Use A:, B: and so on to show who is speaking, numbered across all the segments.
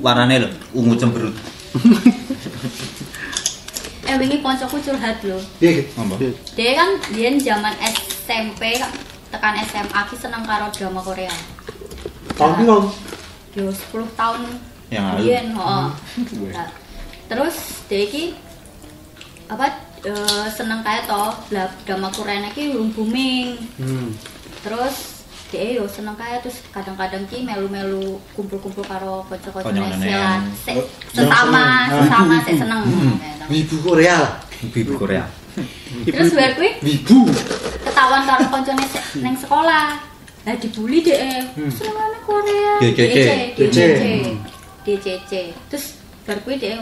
A: warnane lho ungu cemberut.
B: eh wingi koncoku curhat lho
C: Piye Ki?
A: Ngomong.
B: dia kan dia zaman SMP tekan SMA ki seneng karo drama Korea Nah,
C: Tahun piro?
B: yo 10 tahun
A: Yang lalu. Hmm.
B: biyen, heeh. Nah, terus dia ki apa eh, seneng kaya to lah drama Korea ki lum booming
C: Hmm.
B: terus dia yo seneng kaya terus kadang-kadang ki melu-melu kumpul-kumpul karo kocok-kocok
A: Konyol-konyol.
B: Indonesia Se-
A: Iya,
C: Oh,
A: Ah.
B: sesama
C: yang seneng.
B: sesama sik seneng
A: Hmm.
B: Kayak gitu.
C: Wibu Korea lah.
A: Ibu Korea.
B: terus bar kuwi
C: Wibu.
B: ketahuan karo koncone se-
C: Hmm.
B: neng sekolah lah dibully eh. deh senengane Korea
A: DCC.
B: DCC
C: Hmm.
B: DCC terus bar kuwi deh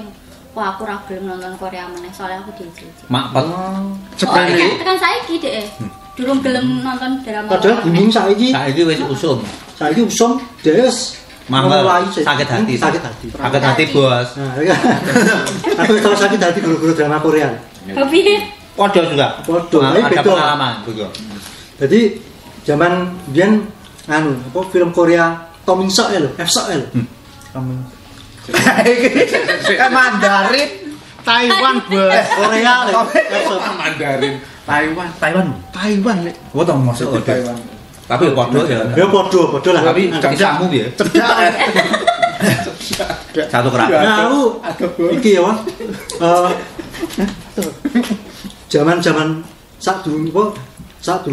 B: wah aku ra gelem nonton Korea meneh soalnya aku DCC
A: Makpet.
B: oh tekan,
C: Cepane.
B: tekan saiki deh eh. durung gelem nonton drama
C: Hmm. Padahal
B: Korea.
C: bimbing saiki,
A: Saiki wis usum.
C: saiki usum deres
A: Mangkel.
C: memulai se-
A: Sakit hati.
C: Hmm, Sakit hati.
A: Sakit hati, Bos.
C: Nah, ya. Aku terus sakit hati guru-guru drama Korea.
B: tapi
A: Podo juga.
C: Podo,
A: Nah,
C: tapi
A: Ada
C: beda.
A: pengalaman juga.
C: Jadi zaman biyen anu apa film Korea Tom Insok ya lho, F-Sok ya lho.
A: Hmm.
D: Eh Mandarin Taiwan bos.
C: Korea lho. F-Sok.
D: Eh, Mandarin Taiwan
A: Eh, Taiwan.
D: Taiwan nih.
A: Gua tau masuk ke Taiwan. Tapi podo ya.
C: Ya podo, podo lah. Nah,
A: Tapi kisahmu ya.
D: Cerdas.
A: Satu kerabat.
C: Nah, aku iki ya, Wan. Eh, Zaman-zaman saat dulu apa saat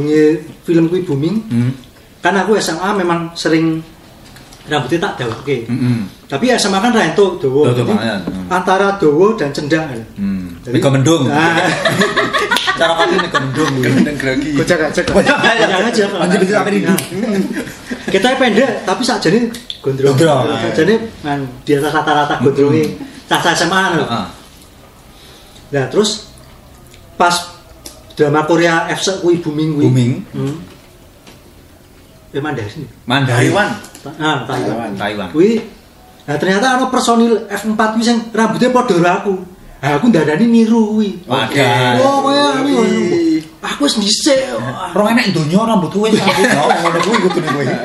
C: film kuwi booming,
A: Hmm.
C: kan aku SMA memang sering rambutnya tak dawake.
A: Hmm.
C: Tapi SMA kan ra entuk dawa.
A: Dawa
C: Jadi,
A: banget. Hmm.
C: Antara dawa dan cendang. kan.
A: Hmm.
C: Jadi-
A: Mega mendung.
C: Nah,
A: Cara pasti mega mendung.
D: Kendeng gragi.
E: Gojek aja.
C: jangan aja. Pak.
A: Anjir, bisa sampai hidup.
C: Nah, Kita pendek tapi sakjane gondrong.
A: Gondrong. Hmm.
C: Sakjane kan, di atas rata-rata gondronge. Cah-cah SMA lho.
A: Heeh.
C: Nah terus pas drama Korea F kuwi booming kuwi.
A: Booming.
C: Hmm. Ya Mandarin.
A: Mandarin.
D: Taiwan.
C: Ta- Ah, Taiwan.
A: Taiwan.
C: Kuwi nah ternyata ana personil F4 kuwi sing rambutnya padha karo aku. Ah aku ndadani niru kuwi.
A: Padahal.
C: Oh, kaya aku. Aku wis dhisik.
A: Rong enek donya rambut kuwi sambut no ngono kuwi kudune kuwi.
C: Nah,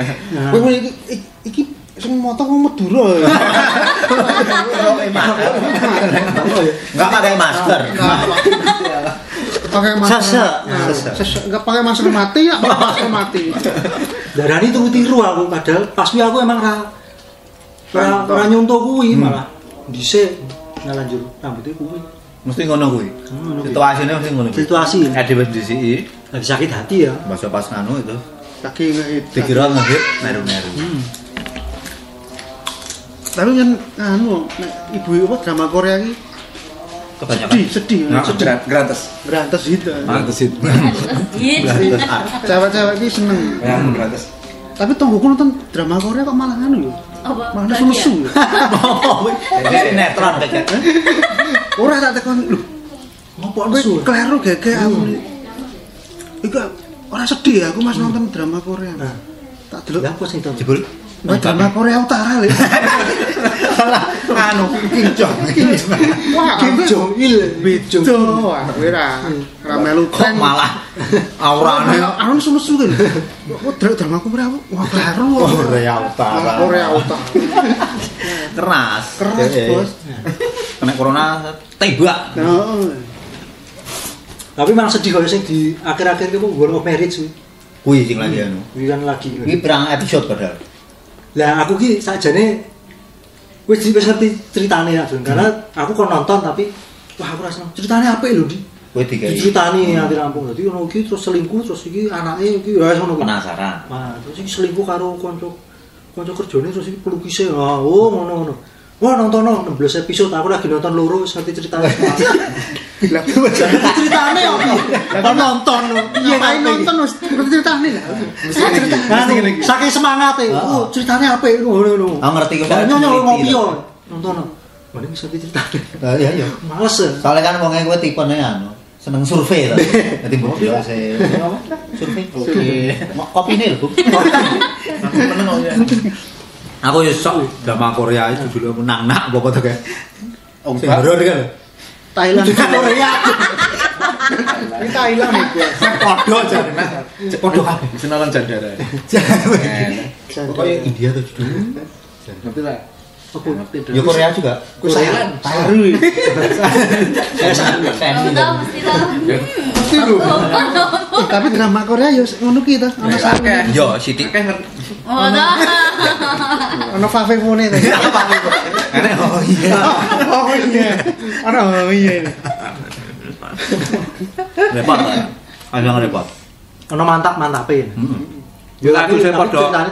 E: Kowe iki iki- iki sing moto wong Madura. ya.
C: apa ya?
A: Enggak pakai masker.
E: Pakai masker.
C: Sesek.
E: Nah,
C: Sesek.
E: sesek. Enggak pakai masker mati ya, pakai masker mati.
C: Darani turu tiru aku padahal pas kuwi aku emang ra ra, ra nyontoh
A: Hmm.
C: kuwi malah dhisik. Nah lanjut rambutnya kuwi.
A: Mesti ngono kuwi.
C: Ngono kuwi.
A: Situasine mesti ngono kuwi.
C: Situasi.
A: Ade wis disiki
C: Lagi sakit hati ya.
A: bahasa pas nganu itu.
E: Kaki ngeit.
A: Dikira ngedit meru-meru.
E: Tapi kan anu nek ibu apa drama Korea iki
A: Kebanyakan.
E: sedih, sedih,
A: Nah.
E: sedih.
D: Gra- Gratis.
E: Berantas gitu.
A: Mantes itu.
B: Iya.
E: Cewek-cewek iki seneng.
D: Ya gratis.
E: Tapi tonggoku nonton drama Korea kok malah anu lho.
B: apa
E: Malah
B: Bahagia?
E: nesu-nesu. lho.
A: Nah, Netron kayak.
E: Ora tak tekon lho.
C: Ngopo
E: Kowe
C: nesu?
E: kleru gege aku. ni. Iku ora sedih ya, aku Mas nonton drama Korea.
C: Nah.
E: Tak
C: Lha
E: delok.
C: apa sing tau?
A: Jebul.
E: Wah, drama Korea Utara lho.
A: Salah. Anu, kincong.
E: Wah,
C: Kim Jong Il, Kim Jong Il.
E: Jong. Wah, kowe ra ra melu
A: Kok
E: tren.
A: malah aurane
E: Ora anu nesu-nesu lho. Kok delok "Oh, drama Korea aku wah kleru.
A: Korea Utara.
E: Korea Utara.
A: keras.
E: Keras,
A: Eh, eh.
E: Bos.
A: Kena corona tebak.
E: Heeh.
C: Tapi memang sedih kalau sing di akhir-akhir itu World of Marriage kuwi.
A: Kuwi sing lagi anu.
C: Kuwi kan lagi.
A: Ini perang episode padahal.
C: Lah aku ki sakjane wis di- wis ngerti ceritane ya, Dun. Karena
E: Hmm.
C: aku kon nonton tapi wah aku rasa ceritane apik lho, Di.
A: Kuwi dikai.
C: Diceritani
E: Hmm.
C: ati rampung. Dadi ono iki terus selingkuh, terus iki anake iki ya wis ngono kuwi.
A: Penasaran.
C: Nah, terus iki selingkuh karo kanca kanca kerjane terus iki pelukise. Ah, oh ngono-ngono. Wah nonton no, 16 episode aku lagi nonton loro wis ngerti ceritane.
E: Lah
C: ceritane apa? Kon nonton lho. Piye
E: Iya, ngapain
C: kabeh?
E: nonton wis ngerti ceritane lah.
C: Kan saking semangat e.
E: Ah.
C: Oh, ceritane
E: ya?
C: apik ngono lho.
A: Ah, ngerti kok.
C: Banyak nyol
A: Ngerti,
C: ngopi
A: lho.
C: yo. Nonton. Mending bisa diceritain.
A: Eh, Iya, iya.
C: Males. ya.
A: Soalnya kan wong gue tipe nih anu seneng survei tau. Jadi mbok yo se survei. Mau kopi nih lho. Bu. Aku meneng kok, ya. Aku yo sok drama Korea itu dulu aku nang nak apa to kayak. Om
D: Pak.
A: Baron kan.
E: Thailand.
A: Korea
E: Ini Thailand ya, gua.
A: podo jare Mas. Podo kabeh.
D: Bisa nonton jandara.
A: Jangan.
D: Enak.
A: Pokoknya India tuh judul.
D: Nanti lah.
C: Apa?
A: Ya Korea juga.
D: Thailand.
A: Taru.
B: Kamu ya? tahu mesti tahu. Oh,
E: Eh, tapi drama Korea yo ngono ki ta, ono
D: Oke.
E: satu,
A: Yo, Siti.
D: Oke, ngerti.
B: Oh, tahu.
E: ono favefone ta.
A: Aneh. Oh iya.
E: Oh iya. Ono oh iya.
A: Repot. ya? Ada yang repot.
C: Ono mantap mantapin.
A: Heeh.
C: Ya
D: Tapi-
C: tapi
D: tapi
C: saya podo.
D: ceritanya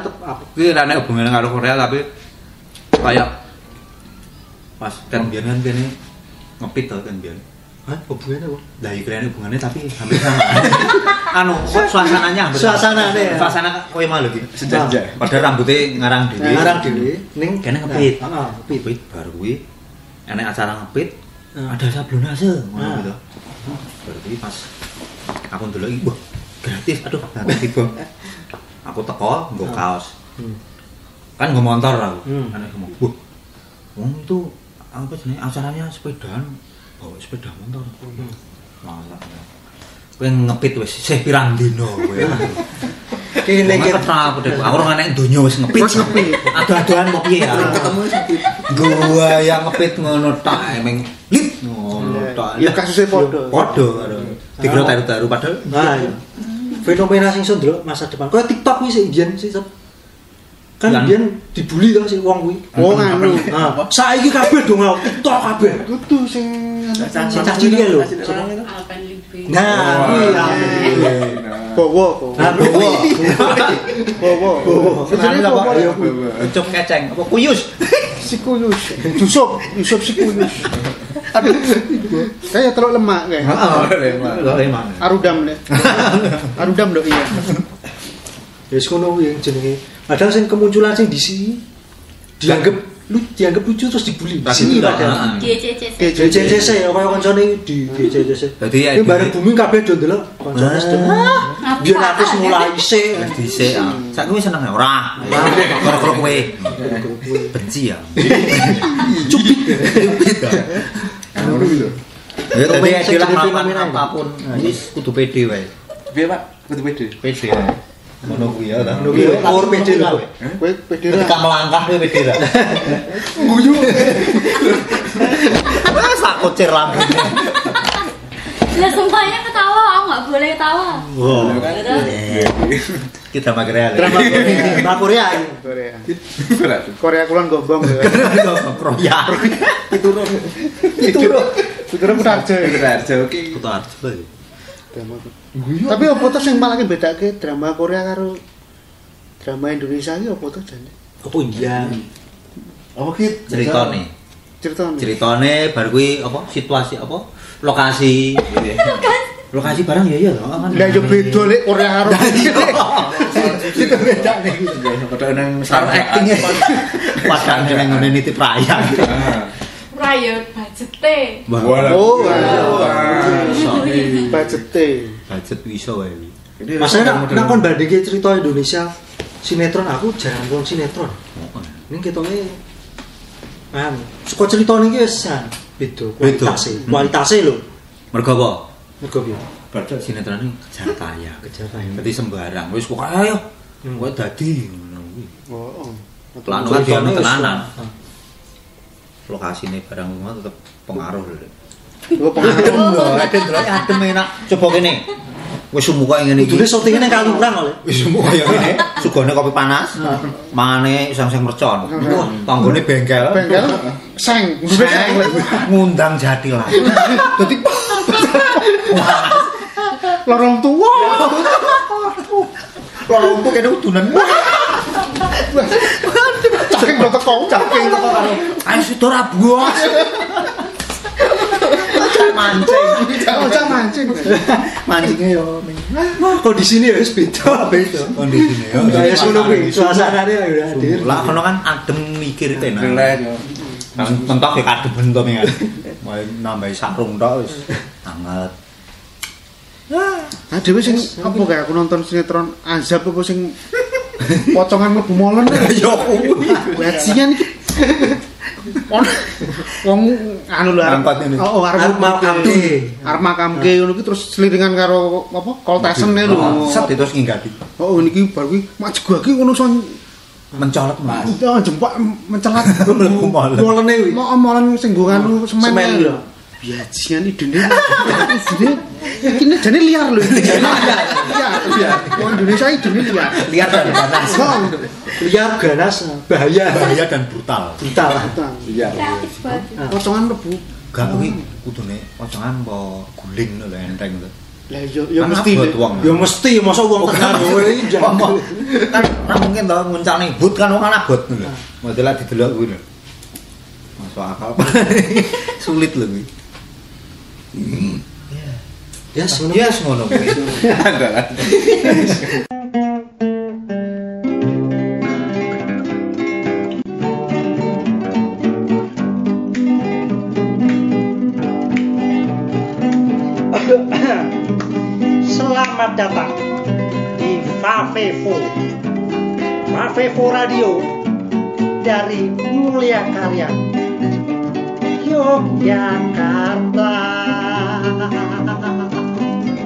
D: Ini rana hubungan karo Korea tapi kayak
A: Pas kan biyen kan kene ngepit to kan biyen.
C: Hah, hubungannya apa?
A: Dari kalian iya, hubungannya tapi hampir sama. anu, kok suasananya hampir
C: Suasananya, ya.
A: Suasana koyo malu iki.
D: sejajar.
A: Padahal rambutnya ngarang dhewe.
C: Ngarang dhewe ning
A: Kene ngepit.
C: Heeh, ngepit.
A: Ngepit baru kuwi enek acara ngepit.
C: Nah.
A: Ada sablonase ngono
C: Nah.
A: kuwi to. Baru kuwi pas aku ndelok iki, wah, gratis. Aduh, nanti tiba. Aku teko nggo
C: Nah.
A: kaos.
C: Hmm.
A: Kan nggo motor aku.
C: Hmm.
A: Anak ngomong, "Wah, wong itu apa jenenge acaranya sepedaan, bawa sepeda motor." Masa. Kowe ngepit wis sih pirang dino kowe.
C: Kene
A: Nek
C: kene.
A: aku dek aku ora nek donya wis ngepit.
E: Wis ngepit.
A: Adu-aduan kok piye ya. Ketemu gua yang ngepit ngono tak emeng lit ngono tak.
E: Ya kasusnya podo.
A: Podo karo dikira taru-taru padahal
C: Nah, iya. fenomena sing iso ndelok masa depan. Kaya TikTok kuwi sih Indian sih Sob. Kan
A: Lan-
C: Indian dibully tau sih wong kuwi.
E: Oh anu.
C: Nah, saiki kabeh dong aku TikTok kabeh.
E: Kudu sing anu.
C: Sing cah cilik lho.
D: Ah, Oh,
C: Nah, kuwi ya.
E: bowo kok.
C: Nah, kuwi.
E: Bowo. Bowo. Jenenge bowo ya.
A: ucup keceng apa kuyus.
E: Si kuyus. Yusuf, Yusuf si kuyus. Aduh. Kayak telur lemak kayak.
A: Heeh. Lho emang.
E: Arudam deh. Arudam dok iya.
C: Ya wis ngono kuwi yang jenenge. Padahal sing kemunculan sing di sini dianggap lu dianggap lucu terus dibully. Di sini
A: Padahal.
C: padahal.
B: GCC.
C: JCC ya kaya koncone di JCC.
A: Dadi ya,
C: Ini
A: di-
C: bareng bumi kabeh do ndelok koncone sedeng.
B: Ah,
C: Biyen aku wis mulai isik.
A: Wis dhisik. ah. Saiki wis seneng ya? ora. Karo-karo kowe. Benci ya. ah. Ya tadi adalah
C: Fenomena- fenomena-
A: melawan
C: fenomena.
A: apapun. Wis kudu pede wae.
D: Biar pak, kudu pede.
A: Hmm. Pede wae. Ngono kuwi ya ta.
C: Ngono kuwi ya.
A: Power pede lho.
E: Kowe pede
A: Ketika
E: ra.
A: melangkah kowe pede ra. Guyu. Wes tak kucir lambene.
B: Lah semuanya ketawa, aku nggak boleh ketawa.
A: Wow.
B: Gitu.
C: Iya.
A: Kita ya, magrel.
E: Drama Korea.
C: Nah Korea ini.
E: Korea.
D: Berat.
E: Korea kulon gombong ya.
A: Kroya.
E: Itu loh. Itu loh aja.
D: Berat, jauh ki.
A: Kutu arjo. ya.
E: Tapi opo tuh sing malah bedake drama Korea karo drama Indonesia iki opo tuh jane?
C: Apa India?
E: Apa ki
A: Ceritane.
E: Ceritane.
A: Ceritane bar kuwi apa situasi apa lokasi. Lokasi barang ya ya.
E: Lah yo beda lek Korea karo Itu beda nih.
D: Padahal nang
A: Sound acting ya. Padahal neng ngene nitip raya.
F: Raya budgete.
D: Walau.
E: Oh,
A: Sorry.
E: Budgete.
A: Budget bisa wae.
C: Masalahnya nak- nak kon bandingke cerita Indonesia sinetron aku jarang nonton sinetron. Ini ketone anu, suka cerita niki wis anu, beda kualitasnya.
A: Hmm.
C: Kualitasnya lho.
A: Mergo apa?
C: Mergo piye?
A: Padahal sinetron ini kejar kaya, kejar
C: kaya.
A: Berarti sembarang. Wis kok ayo. Kok dadi ngono kuwi.
E: Oh. oh.
A: Lan ora
C: Ceritanya
A: diono
C: wis-
A: tenanan. Lokasine barang rumah tetep pengaruh lho.
E: Gua pengaruh.
A: Adem lho, adem enak. Coba kene. Wis sumuk kaya ngene iki.
C: Kudune syutingnya nang kaluran oleh.
A: Wis sumuk kaya ngene. Sugone kopi panas. Mangane isang-isang mercon. Wah, tanggone bengkel.
E: Bengkel seng.
A: Seng, ngundang jadi lah. Dadi
E: Lorong tua.
A: lolong kok kene udunan.
E: Saking belum teko. Saking teko karo.
A: Ayo situ ora bos. Mancing.
E: Cak mancing.
A: Mancingnya yo ning
C: Wah, kondisinya ya wis beda, beda.
A: kondisine yo.
C: Ya wis ngono kuwi, suasanane ya udah hadir.
A: Lah kono kan adem mikir tenan.
D: Relax, yo.
A: Nang tentok ya kademen to mengan. Main nambahi sarung tok wis. Anget.
E: Ah dhewe sing apa kayak aku nonton sinetron azab apa sing pocongan mlebu molen.
A: Yo kuwi.
E: Bajingan iki. Ono wong anu lho arep-
A: Angkat ini.
E: Oh, oh, arep
C: Arep mau kamke.
E: Arep mau kamke ngono ki terus seliringan karo apa koltesen lho.
A: Set itu terus nginggati.
E: Oh niki bar kuwi mak jegage ngono son
A: mencolok mas
E: Oh, jempol mencelat.
A: Mlebu molen.
C: Molene kuwi.
E: Mau molen sing nggo nganu semen.
C: Semen kuwi lho.
E: Biajian idene. Idene kene jane liar lho. Iya, iya. Wong Indonesia idene liar.
A: liar dan ganas
E: Oh,
C: Liar ganas bahaya.
A: bahaya dan brutal
C: Kita lah.
E: utang.
D: Iya.
F: kreatif banget
E: Pocongan mlebu.
A: gak kuwi kudune pocongan apa guling lho enteng itu
E: Lah yo yo
A: Kan
E: mesti.
A: abot wong.
C: Ya mesti masa
A: Oh,
C: wong tenan kowe iki
A: Wong-
C: jangan.
A: wong- kan Eh, ra mungkin to nguncalne but kan wong anak bot lho modelnya didelok kuwi lho masuk akal sulit lho kuwi
C: Ya, semono.
A: ya ngono kuwi
D: Andalan.
G: Selamat datang di Favevo Favevo Radio dari Mulia Karya Yogyakarta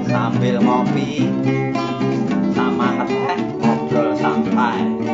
H: sambil ngopi sama ngeteh ngobrol santai